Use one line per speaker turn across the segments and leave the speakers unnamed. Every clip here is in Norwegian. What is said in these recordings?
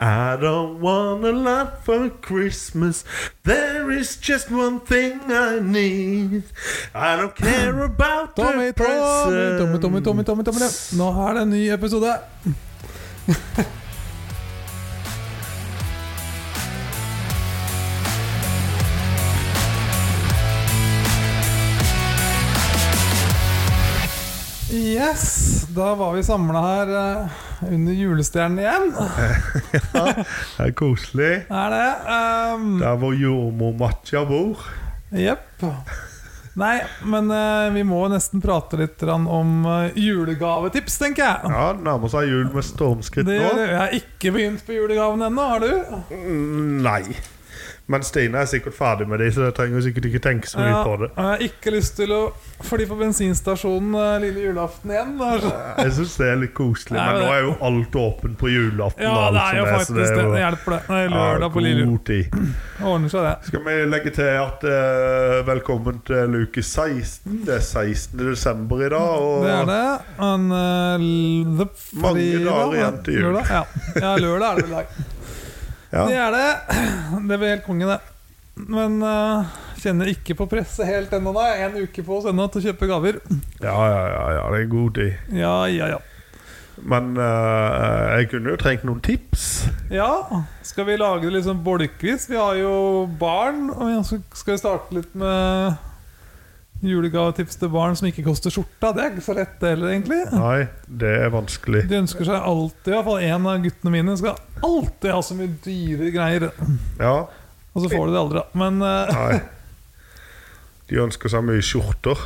I don't want a lot for Christmas. There is just one thing I need. I don't care about the
Tommy, Tommy,
present.
Tommy, Tommy, Tommy, Tommy, Tommy. Nå er det en ny episode. Yes, da var vi samla her eh, under julestjernen igjen.
Det er koselig.
Er det? Um,
Der hvor jordmor Matja bor.
Jepp. Nei, men eh, vi må nesten prate litt grann om eh, julegavetips, tenker jeg.
Ja, det nærmer seg jul med stormskritt
Det,
nå.
jeg har ikke begynt på julegavene ennå, har du?
Mm, Nei. Men Stine er sikkert ferdig med det, så jeg trenger sikkert ikke tenke så mye
Ja,
på
og
det.
jeg har ikke lyst til å fly på bensinstasjonen eh, lille julaften igjen. altså.
Jeg syns det er litt koselig,
Nei,
men
men
nå er jo alt åpent på julaften.
Ja,
og alt
det er jo
som
faktisk det.
så
Det
jo-
hjelper, det. Det er
Ja,
Lørdag på lille jul.
god tid.
Ordner seg, det.
Skal vi legge til at eh, velkommen til uke 16. Det er 16. desember i dag. Og
Det er det. En, eh, l- the
Mange
fredag,
dager igjen til jul.
Lørdag? Ja. ja, lørdag er det vel i dag.
Ja.
Det er det. Det blir helt konge, det. Men eh, kjenner ikke på presset helt ennå, nei. En uke på oss ennå til å kjøpe gaver.
Ja, ja, ja, ja, det er en god tid.
Ja, ja, ja.
Men eh, jeg kunne jo trengt noen tips.
Ja, Skal vi lage det litt sånn bolkvis? Vi har jo barn. Og vi skal- skal vi starte litt med julegavetips til barn som ikke koster skjorta? Det er ikke så lett, det heller, egentlig.
Nei, det er vanskelig.
De ønsker seg alltid, i hvert fall en av guttene mine, skal alltid ha så mye dyre greier.
Ja,
Og så får du det aldri, da. Men eh,
nei. De ønsker seg mye skjorter.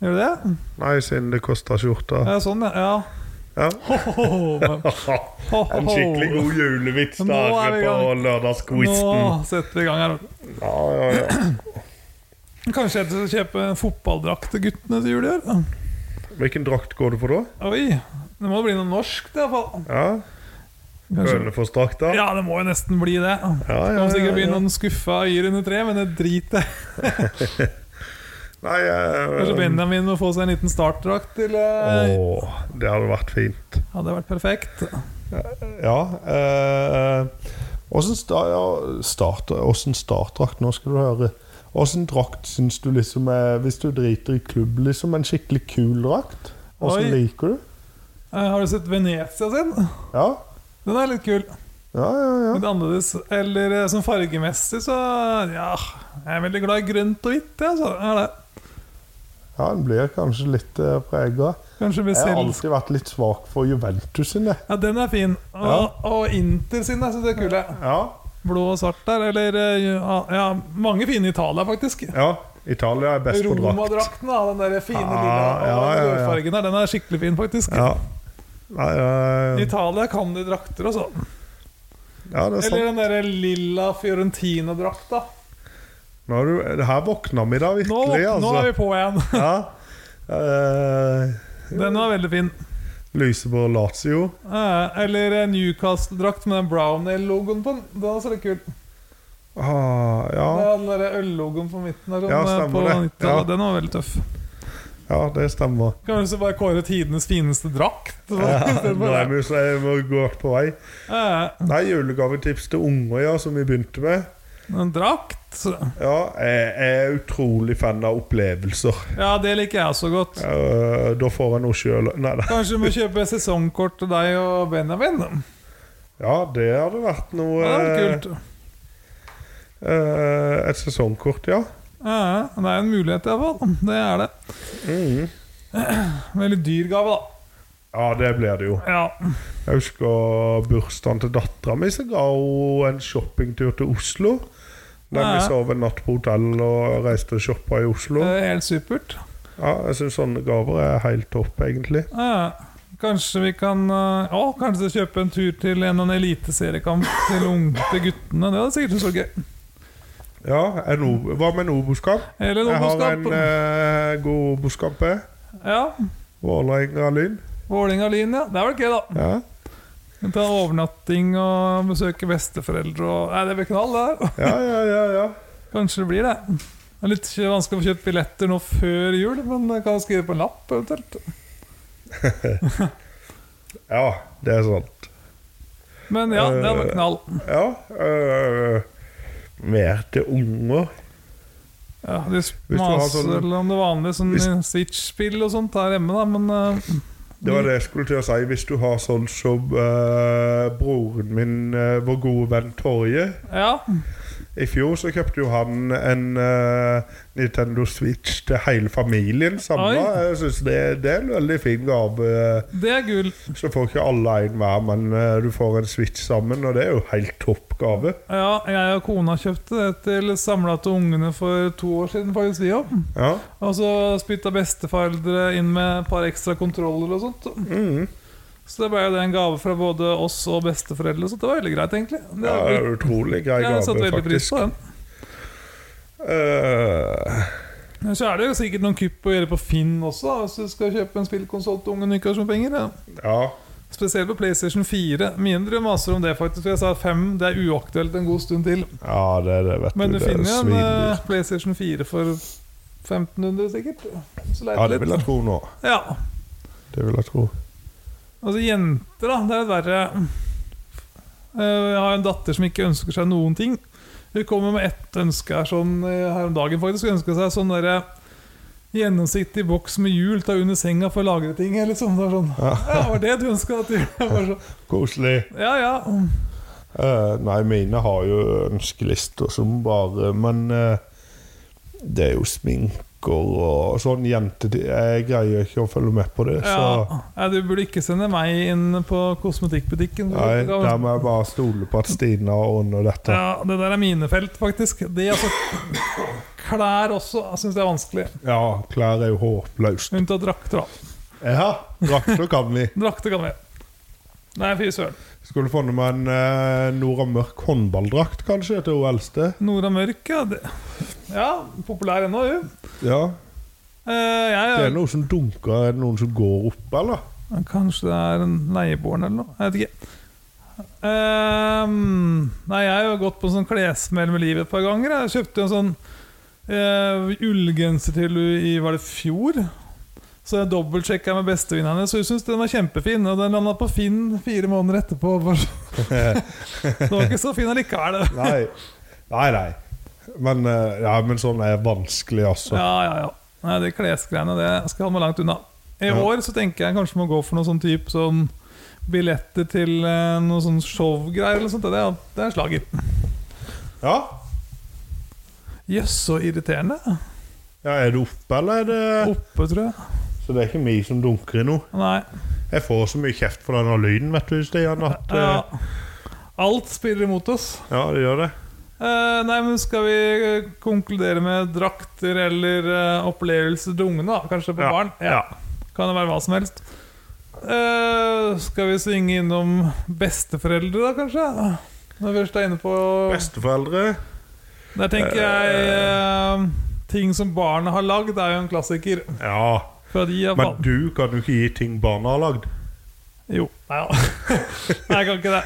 gjør du det?
Nei, siden det koster skjorta.
Ja, sånn, ja. ja.
Ja.
Ho, ho, ho.
En skikkelig god Mm. julevits
Nå
der
er vi i
på
gang.
lørdagsquizen.
Nå setter vi i gang her.
Ja, ja, ja.
Kanskje jeg skal kjøpe en fotballdrakt til guttene til jul i år?
Hvilken drakt går du for da?
Oi, det må bli noe norsk, i hvert fall.
Ja,
Kanskje.
Hønefoss-drakta?
Ja, det må jo nesten bli det. Det
ja,
kan sikkert bli
ja.
noen skuffa øyer under treet, men det driter jeg i.
Nei, eh,
Kanskje
jeg
Benjamin må få seg en liten startdrakt til eh,
Åh, det hadde vært fint.
Hadde vært perfekt.
Ja eh, Åssen sta, ja, starter- åssen startdrakt Nå skal du høre. Åssen drakt syns du liksom er Hvis du driter i klubb, liksom, en skikkelig kul drakt? Åssen
Oi.
liker du?
Eh, Har du sett Venezia sin?
Ja,
Den er litt kul.
ja, ja. ja.
Litt annerledes. Eller eh, sånn fargemessig, så ja Jeg er veldig glad i grønt og hvitt, jeg, så er det.
ja den blir kanskje litt uh, prega.
Kanskje
Jeg har
bestille
alltid vært litt svak for Juventus sine.
Ja, den er fin. Og, og Inter sin, jeg synes det er kule.
Ja,
Blå og svart der. Eller eh, ja, ja, mange fine i Italia, faktisk.
ja. Italia er best på drakt.
Romadrakten, da. Den der fine
Ah,
lilla
ja, ja, ja.
rødfargen der. Den er skikkelig fin, faktisk.
Ja. Nei, ja,
Italia kan de drakter, altså.
ja, det er sant.
Eller den der lilla Fiorentina-drakta.
Nå er du, det her våkna vi da
Nå,
virkelig,
nå er
altså.
vi på igjen.
Ja. Eh,
Den var veldig fin.
Lyseborg Lazio.
Eh, Eller eh, Newcastle-drakt med den Brownell-logoen på den. Den er også litt kul.
Ah,
Det
ja.
er den der øl-logoen på midten der, sånn,
Ja,
eh,
stemmer
på
det.
90-tallet.
Ja.
Den var veldig tøff.
ja, det stemmer.
Kan vi så bare kåre tidenes fineste drakt? Så, i stedet for
Nå er
det.
vi jo så jeg må gå på vei.
Eh,
Nei, julegavetips til unger, ja, som vi begynte med.
en drakt?
Ja, jeg er utrolig fan av opplevelser.
Ja, det liker jeg også godt.
Eh, da får jeg noe sjøl Nei da.
Kanskje vi må kjøpe sesongkort til deg og Benjamin?
Ja, det hadde vært noe
Det er kult.
eh, eh, Et sesongkort, ja.
Ja, det er en mulighet, iallfall. Det er det.
Mhm.
Veldig dyr gave, da.
Ja, det blir det jo.
Ja.
Jeg husker bursdagen til dattera mi, så ga hun en shoppingtur til Oslo. Der
Ja,
vi
ja.
sov en natt på hotell og reiste og shoppa i Oslo.
Det er helt supert.
Ja, jeg syns sånne gaver er helt topp, egentlig.
Ja. Kanskje vi kan eh, Å, kanskje kjøpe en tur til en, en eliteseriekamp til, ung- til guttene. Det hadde sikkert vært gøy.
Ja, en o- Hva med en Obos-kamp?
Eller
Jeg har en
naboskap.
eh, god Obos-kamp, jeg.
Ja.
Vålerenga-Lyn.
Vålinga-Lyn, ja. Det er vel gøy, da.
Ja.
Ta overnatting og besøke besteforeldre og Nei, det blir knall, det der.
ja, ja, ja. ja.
Kanskje det blir det. Det er litt vanskelig å få kjøpt billetter nå før jul, men jeg kan skrive på en lapp, eventuelt.
Ja, det er sant.
Men ja, det var
Eh,
knall.
Ja. øh, mer til unger.
Ja, de
du har
maser
sånn-
om det vanlige, sånn
Hvis-
Switch-spill og sånt her hjemme, da, men eh,
Det var det jeg skulle til å si. Hvis du har sånn som eh, broren min, eh, vår gode venn Torje
ja.
I fjor så kjøpte jo han en eh, Nintendo Switch til hele familien samla.
Oi.
Jeg syns det, det er en veldig fin gave.
Det er gull.
Så får ikke alle en hver, men eh, du får en Switch sammen, og det er jo helt topp gave.
Ja, jeg og kona kjøpte det til samla til ungene for to år siden, faktisk, vi òg.
Ja.
Og så spytta besteforeldre inn med et par ekstra kontroller og sånt.
Mm.
Så det ble jo det en gave fra både oss og besteforeldre, så det var veldig greit, egentlig. Det
Det
har
er
blitt-
en utrolig grei
jeg har satt
gave,
veldig pris
faktisk.
på den.
Eh,
Men Så er det jo sikkert noen kupp å gjøre på Finn også, da, hvis du skal kjøpe en spillkonsoll til ungen du ikke har så mye penger. Ja.
ja.
Spesielt på PlayStation 4. Mine drev maser om det, faktisk. for Jeg sa 5 det er uaktuelt en god stund til.
ja, det er det, vet
Men du
Det er
finner jo en
svindyrt.
eh, PlayStation 4 for 1500, sikkert. Så leit
Ja, det
litt.
vil jeg tro nå.
Ja.
Det vil jeg tro.
Altså, jenter, da. Det er litt verre. Eh, Jeg har en datter som ikke ønsker seg noen ting. Hun kommer med ett ønske her, sånn, eh, her om dagen, faktisk. Hun ønsker seg sånn derre Gjennomsiktig boks med hjul ta under senga for å lagre ting. Eller sånn, det er sånn. Ja, var det du ønska?
Koselig.
Ja, ja.
Eh, nei, mine har jo ønskelister som sånn bare Men eh, det er jo sminker og sånn jentetid Jeg greier ikke å følge med på det, så
ja. Nei, du burde ikke sende meg inn på kosmetikkbutikken.
Nei,
Du-
der må jeg bare stole på at Stina ordner dette.
ja, det der er mine felt, faktisk. Det, altså, klær også syns jeg er vanskelig.
Ja, klær er jo håpløst.
Unntatt drakter, da.
Ja, drakter kan vi.
Drakter kan vi. Nei, fy søren.
Skulle funnet meg en eh, Nora Mørk håndballdrakt, kanskje, til hun eldste.
Nora Mørk, ja. Det. Ja, populær ennå, hun.
Ja,
Eh, jeg,
Det er noe som dunker. Er det noen som går opp, eller?
Kanskje det er en leieboeren eller noe. Jeg vet ikke. Ehm, nei, jeg har jo gått på en sånn klessmell med livet et par ganger. Jeg kjøpte jo en sånn eh, ullgenser til henne i var det fjor. Så jeg dobbeltsjekka med bestevenninna hennes, og hun syntes den var kjempefin. Og den landa på Finn fire måneder etterpå. Bare så- Den var ikke så fin allikevel.
Nei. Nei, nei. Men, eh, ja, men sånn er vanskelig, altså.
Ja, ja, ja. Nei, det klesgreiene det skal jeg holde meg langt unna. I
Ja.
år så tenker jeg kanskje må gå for noe sånn type sånn billetter til eh, noe sånn showgreier eller sånt. Det er, det er slager.
Ja,
Jøss, så irriterende.
Ja, Er det oppe, eller er det
Oppe, tror jeg.
Så det er ikke vi som dunker i noe.
Nei.
Jeg får så mye kjeft for denne lyden, vet du, Stian, at eh,
Ja. Alt spiller imot oss.
Ja, det gjør det.
Eh, nei, men skal vi eh, konkludere med drakter eller eh, opplevelser til ungene, da? Kanskje på
Ja.
barn? Kan det være hva som helst. Eh, skal vi svinge innom besteforeldre, da, kanskje? Når vi først er inne på
Besteforeldre
Der tenker jeg eh, Ting som barnet har lagd, er jo en klassiker.
Ja.
Fra de er
Men
barn.
du kan jo ikke gi ting barna har lagd.
Jo. Nei, ja. nei, jeg kan ikke det.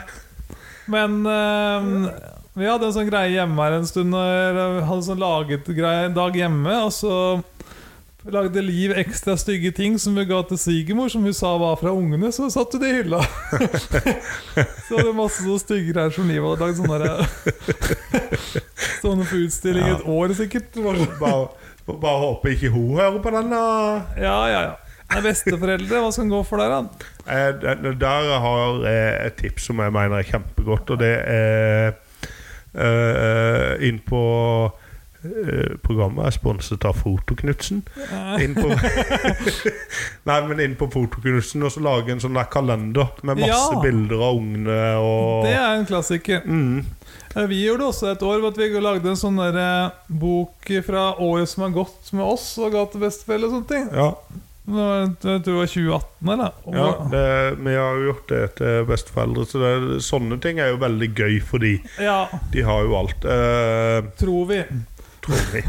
Men eh, vi hadde en sånn greie hjemme her en stund. Og jeg hadde sånn laget greie en dag hjemme, og så lagde Liv ekstra stygge ting som hun ga til svigermor, som hun sa var fra ungene. Så satt hun det i hylla. så det er masse så stygge greier som Liv hadde lagd. Sånne, der- sånne på utstilling et år, sikkert. Det var så-
Bare, får bare håper ikke hun hører på den, da.
Ja, ja, ja. Nei, besteforeldre, hva skal en gå for der, da?
Eh, den- Der har jeg et tips som jeg mener er kjempegodt, og det er eh, inn på eh, Programmet er sponset av Fotoknutsen. Inn på Nei, men inn på Fotoknutsen og så lage en sånn der kalender med masse
Ja.
bilder av ungene og
Det er en klassiker.
mm,
Eh, Vi gjorde det også et år ved at vi lagde en sånn der, eh, bok fra året som har gått med oss og ga til bestefelle og sånne ting.
ja,
Det var, jeg tror det var 2018, eller? Og-
ja det, Vi har jo gjort det til besteforeldre, så det, sånne ting er jo veldig gøy, fordi
ja,
de har jo alt. Eh,
tror vi.
tror vi.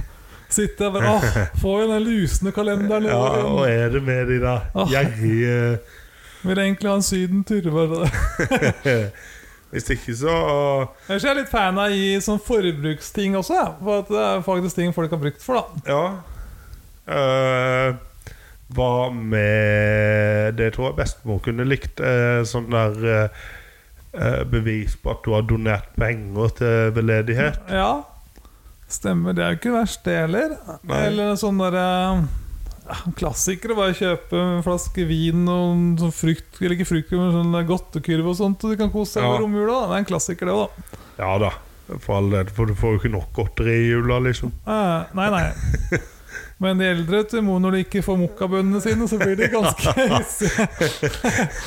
Sitter jeg bare Åh, får jo den lusende kalenderen i
Ja,
år igjen.
og er det med de der
Åh.
gjerrige
Vil egentlig ha en sydentur. bare.
eh, Hvis ikke så
Ellers er jeg litt fan av å gi sånn forbruksting også. ja, For at det er faktisk ting folk har brukt for, da.
Ja. Eh, hva med Det tror jeg bestemor kunne likt. eh, sånn der eh, eh, bevis på at du har donert penger til veldedighet.
Ja, stemmer. Det er jo ikke verst, det heller.
Nei.
Eller sånn derre Klassikere. Bare kjøpe en flaske vin og en sånn frukt Eller ikke frukt, men sånn godtekurv og sånt, og du kan kose deg
Ja.
med romjula. da. Det er en klassiker, det òg, da.
Ja da, for all del, for du får jo ikke nok godteri i jula, liksom.
Eh, nei, nei. Men de eldre vet du, må når de ikke får mokkabønnene sine, så blir de ganske hissige.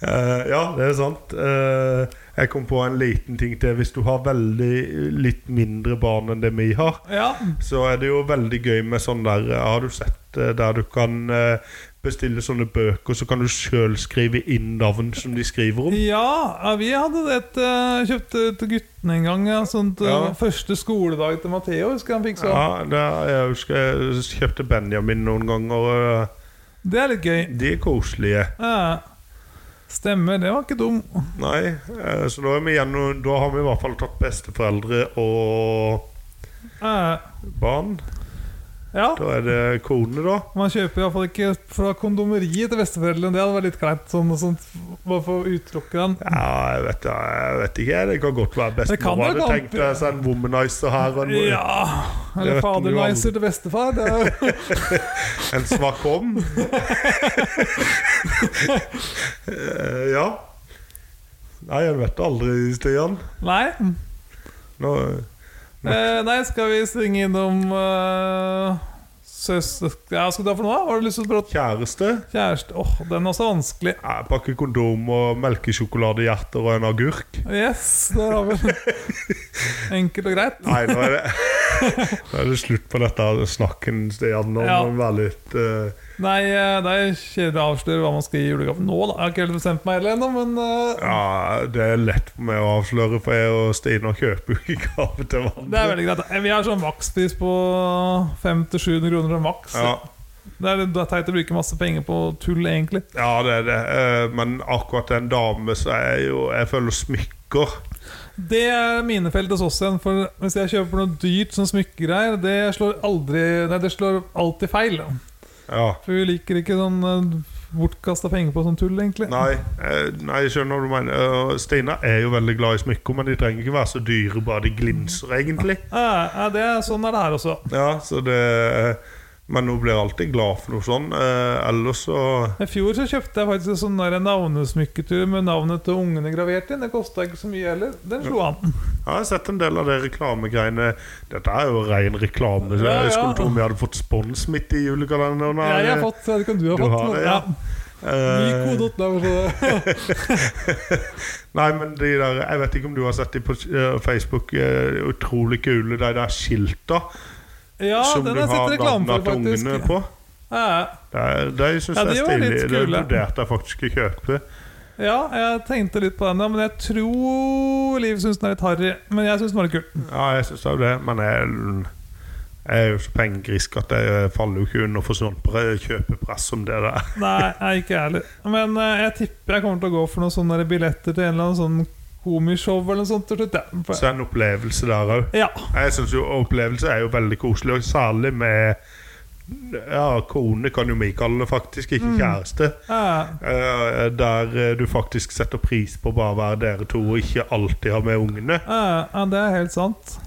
Eh, ja, det er sant. Eh, jeg kom på en liten ting til. Hvis du har veldig litt mindre barn enn det vi har,
Ja.
så er det jo veldig gøy med sånn der eh, Har du sett eh, der du kan eh, bestille sånne bøker, så kan du sjøl skrive inn navn som de skriver om?
ja, ja, vi hadde et eh, Kjøpte til guttene en gang. Ja, sånt, eh,
Ja.
Første skoledag til Matheo, husker jeg han fikk sånn.
Ja, det er, jeg husker jeg kjøpte Benjamin noen ganger. og,
Det er litt gøy.
eh, De er koselige.
Ja. Stemmer, det var ikke dum.
Nei, eh, så da, er vi gjennom, da har vi i hvert fall tatt besteforeldre og
Ja.
barn.
Ja,
Da er det kone, da.
man kjøper iallfall ikke fra kondomeriet til besteforeldrene. Det hadde vært litt kleint. Sånn, sånt, bare for å utelukke den.
Ja, jeg vet, jeg vet ikke. Det kan godt være
Det kan
bestemor
jo
hadde
godt-
tenkt eh, seg en womanizer her. og En,
Ja!
Det
Eller
vet man jo
fadernicer til bestefar. Det er, jo-
en svakom. Eh, ja. Nei, jeg vet aldri, Stian.
nei.
Nå,
Eh, nei, skal vi svinge innom eh, søster... Ja, skal du ha for noe? Har du lyst til å prate
kjæreste.
kjæreste? Åh, den er også vanskelig.
Jeg pakker kondom og melkesjokoladehjerter og en agurk.
Yes, der har vi den. Enkelt og greit.
Nei, nå er det, nå er det slutt på dette snakken, Stian. Nå
Ja.
må vi være litt eh,
Nei, eh, det er kjedelig å avsløre hva man skal gi i julegave nå, da. Jeg har ikke helt bestemt meg heller ennå, men eh,
Ja, det er lett for meg å avsløre, for jeg og Stina kjøper jo ikke gave til
Det er
hverandre.
veldig greit. Eh, Vi har sånn makspris på 500-700 kroner fra maks.
Ja,
Det er litt det er teit å bruke masse penger på tull, egentlig.
ja, det er det. Eh, Men akkurat en dame, så er jeg jo Jeg føler smykker.
Det er minefelt hos oss igjen, for hvis jeg kjøper noe dyrt som smykkegreier, det slår aldri Nei, det slår alltid feil.
Ja.
For vi liker ikke sånn eh, bortkasta penger på sånn tull, egentlig.
Nei, eh, nei, jeg skjønner hva du mener. Eh, Stina er jo veldig glad i smykker, men de trenger ikke være så dyre, bare de glinser, egentlig.
Eh, eh, det, er- sånn er det her også.
Ja, så det eh, Men hun blir alltid glad for noe sånn. Eh, ellers så
I fjor så kjøpte jeg faktisk en sånn der navnesmykketur med navnet til ungene gravert inn. Det kosta ikke så mye heller. Den slo an.
Jeg har sett en del av de reklamegreiene. Dette er jo ren reklame. så
Ja, ja.
Jeg skulle tro vi hadde fått spons midt i julekalenderen.
Jeg, har fått, jeg vet ikke om du har
eh, Du
fått.
har det,
men-
ja.
Ny
Eh,
kode opp der, så det-
Nei, men de der, Jeg vet ikke om du har sett de på eh, Facebook. eh, utrolig kule, de der skilta
Ja,
som
den
du
har jeg sett
har navnet
reklame for,
til
faktisk.
ungene på.
Ja,
De, de syns
Ja,
jeg
de
er
var litt
stilige. Det
kule.
vurderte jeg faktisk å kjøpe.
ja, jeg tenkte litt på den, ja, men jeg tror Liv syns den er litt harry. Men jeg syns den var litt kul.
Ja, jeg syns jo det, men jeg, jeg er jo så pengegrisk at jeg eh, faller jo ikke under for sånn pre- kjøpepress som det der.
Nei, jeg er ikke ærlig. Men eh, jeg tipper jeg kommer til å gå for noen sånne der billetter til en eller annen sånn komishow eller noe sånt til slutt. ja. For-
Så er det en opplevelse der òg.
Ja.
Jeg synes jo opplevelse er jo veldig koselig, og særlig med Ja, kone kan jo vi kalle det faktisk,
Mm.
ikke kjæreste.
ja.
Eh, der eh, du faktisk setter pris på bare å være dere to og ikke alltid ha med ungene.
ja, ja, det er helt sant.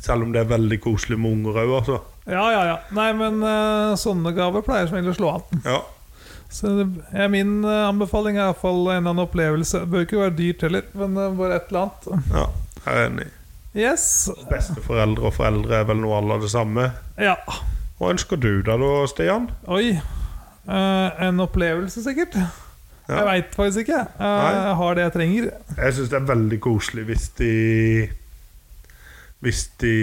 Selv om det er veldig koselig med unger òg, altså.
Ja, ja, ja. Nei, men eh, sånne gaver pleier som regel å slå an.
Ja.
Så det, ja, min eh, anbefaling er iallfall en eller annen opplevelse. Det bør ikke være dyrt heller, men eh, bare et eller annet.
ja. Jeg er enig.
Yes.
Besteforeldre og foreldre er vel noe alle det samme.
Ja.
Hva ønsker du deg da, Stian?
Oi. Eh, en opplevelse, sikkert.
Ja.
Jeg veit faktisk ikke. Eh,
Nei.
jeg har det jeg trenger.
Jeg syns det er veldig koselig hvis de Hvis de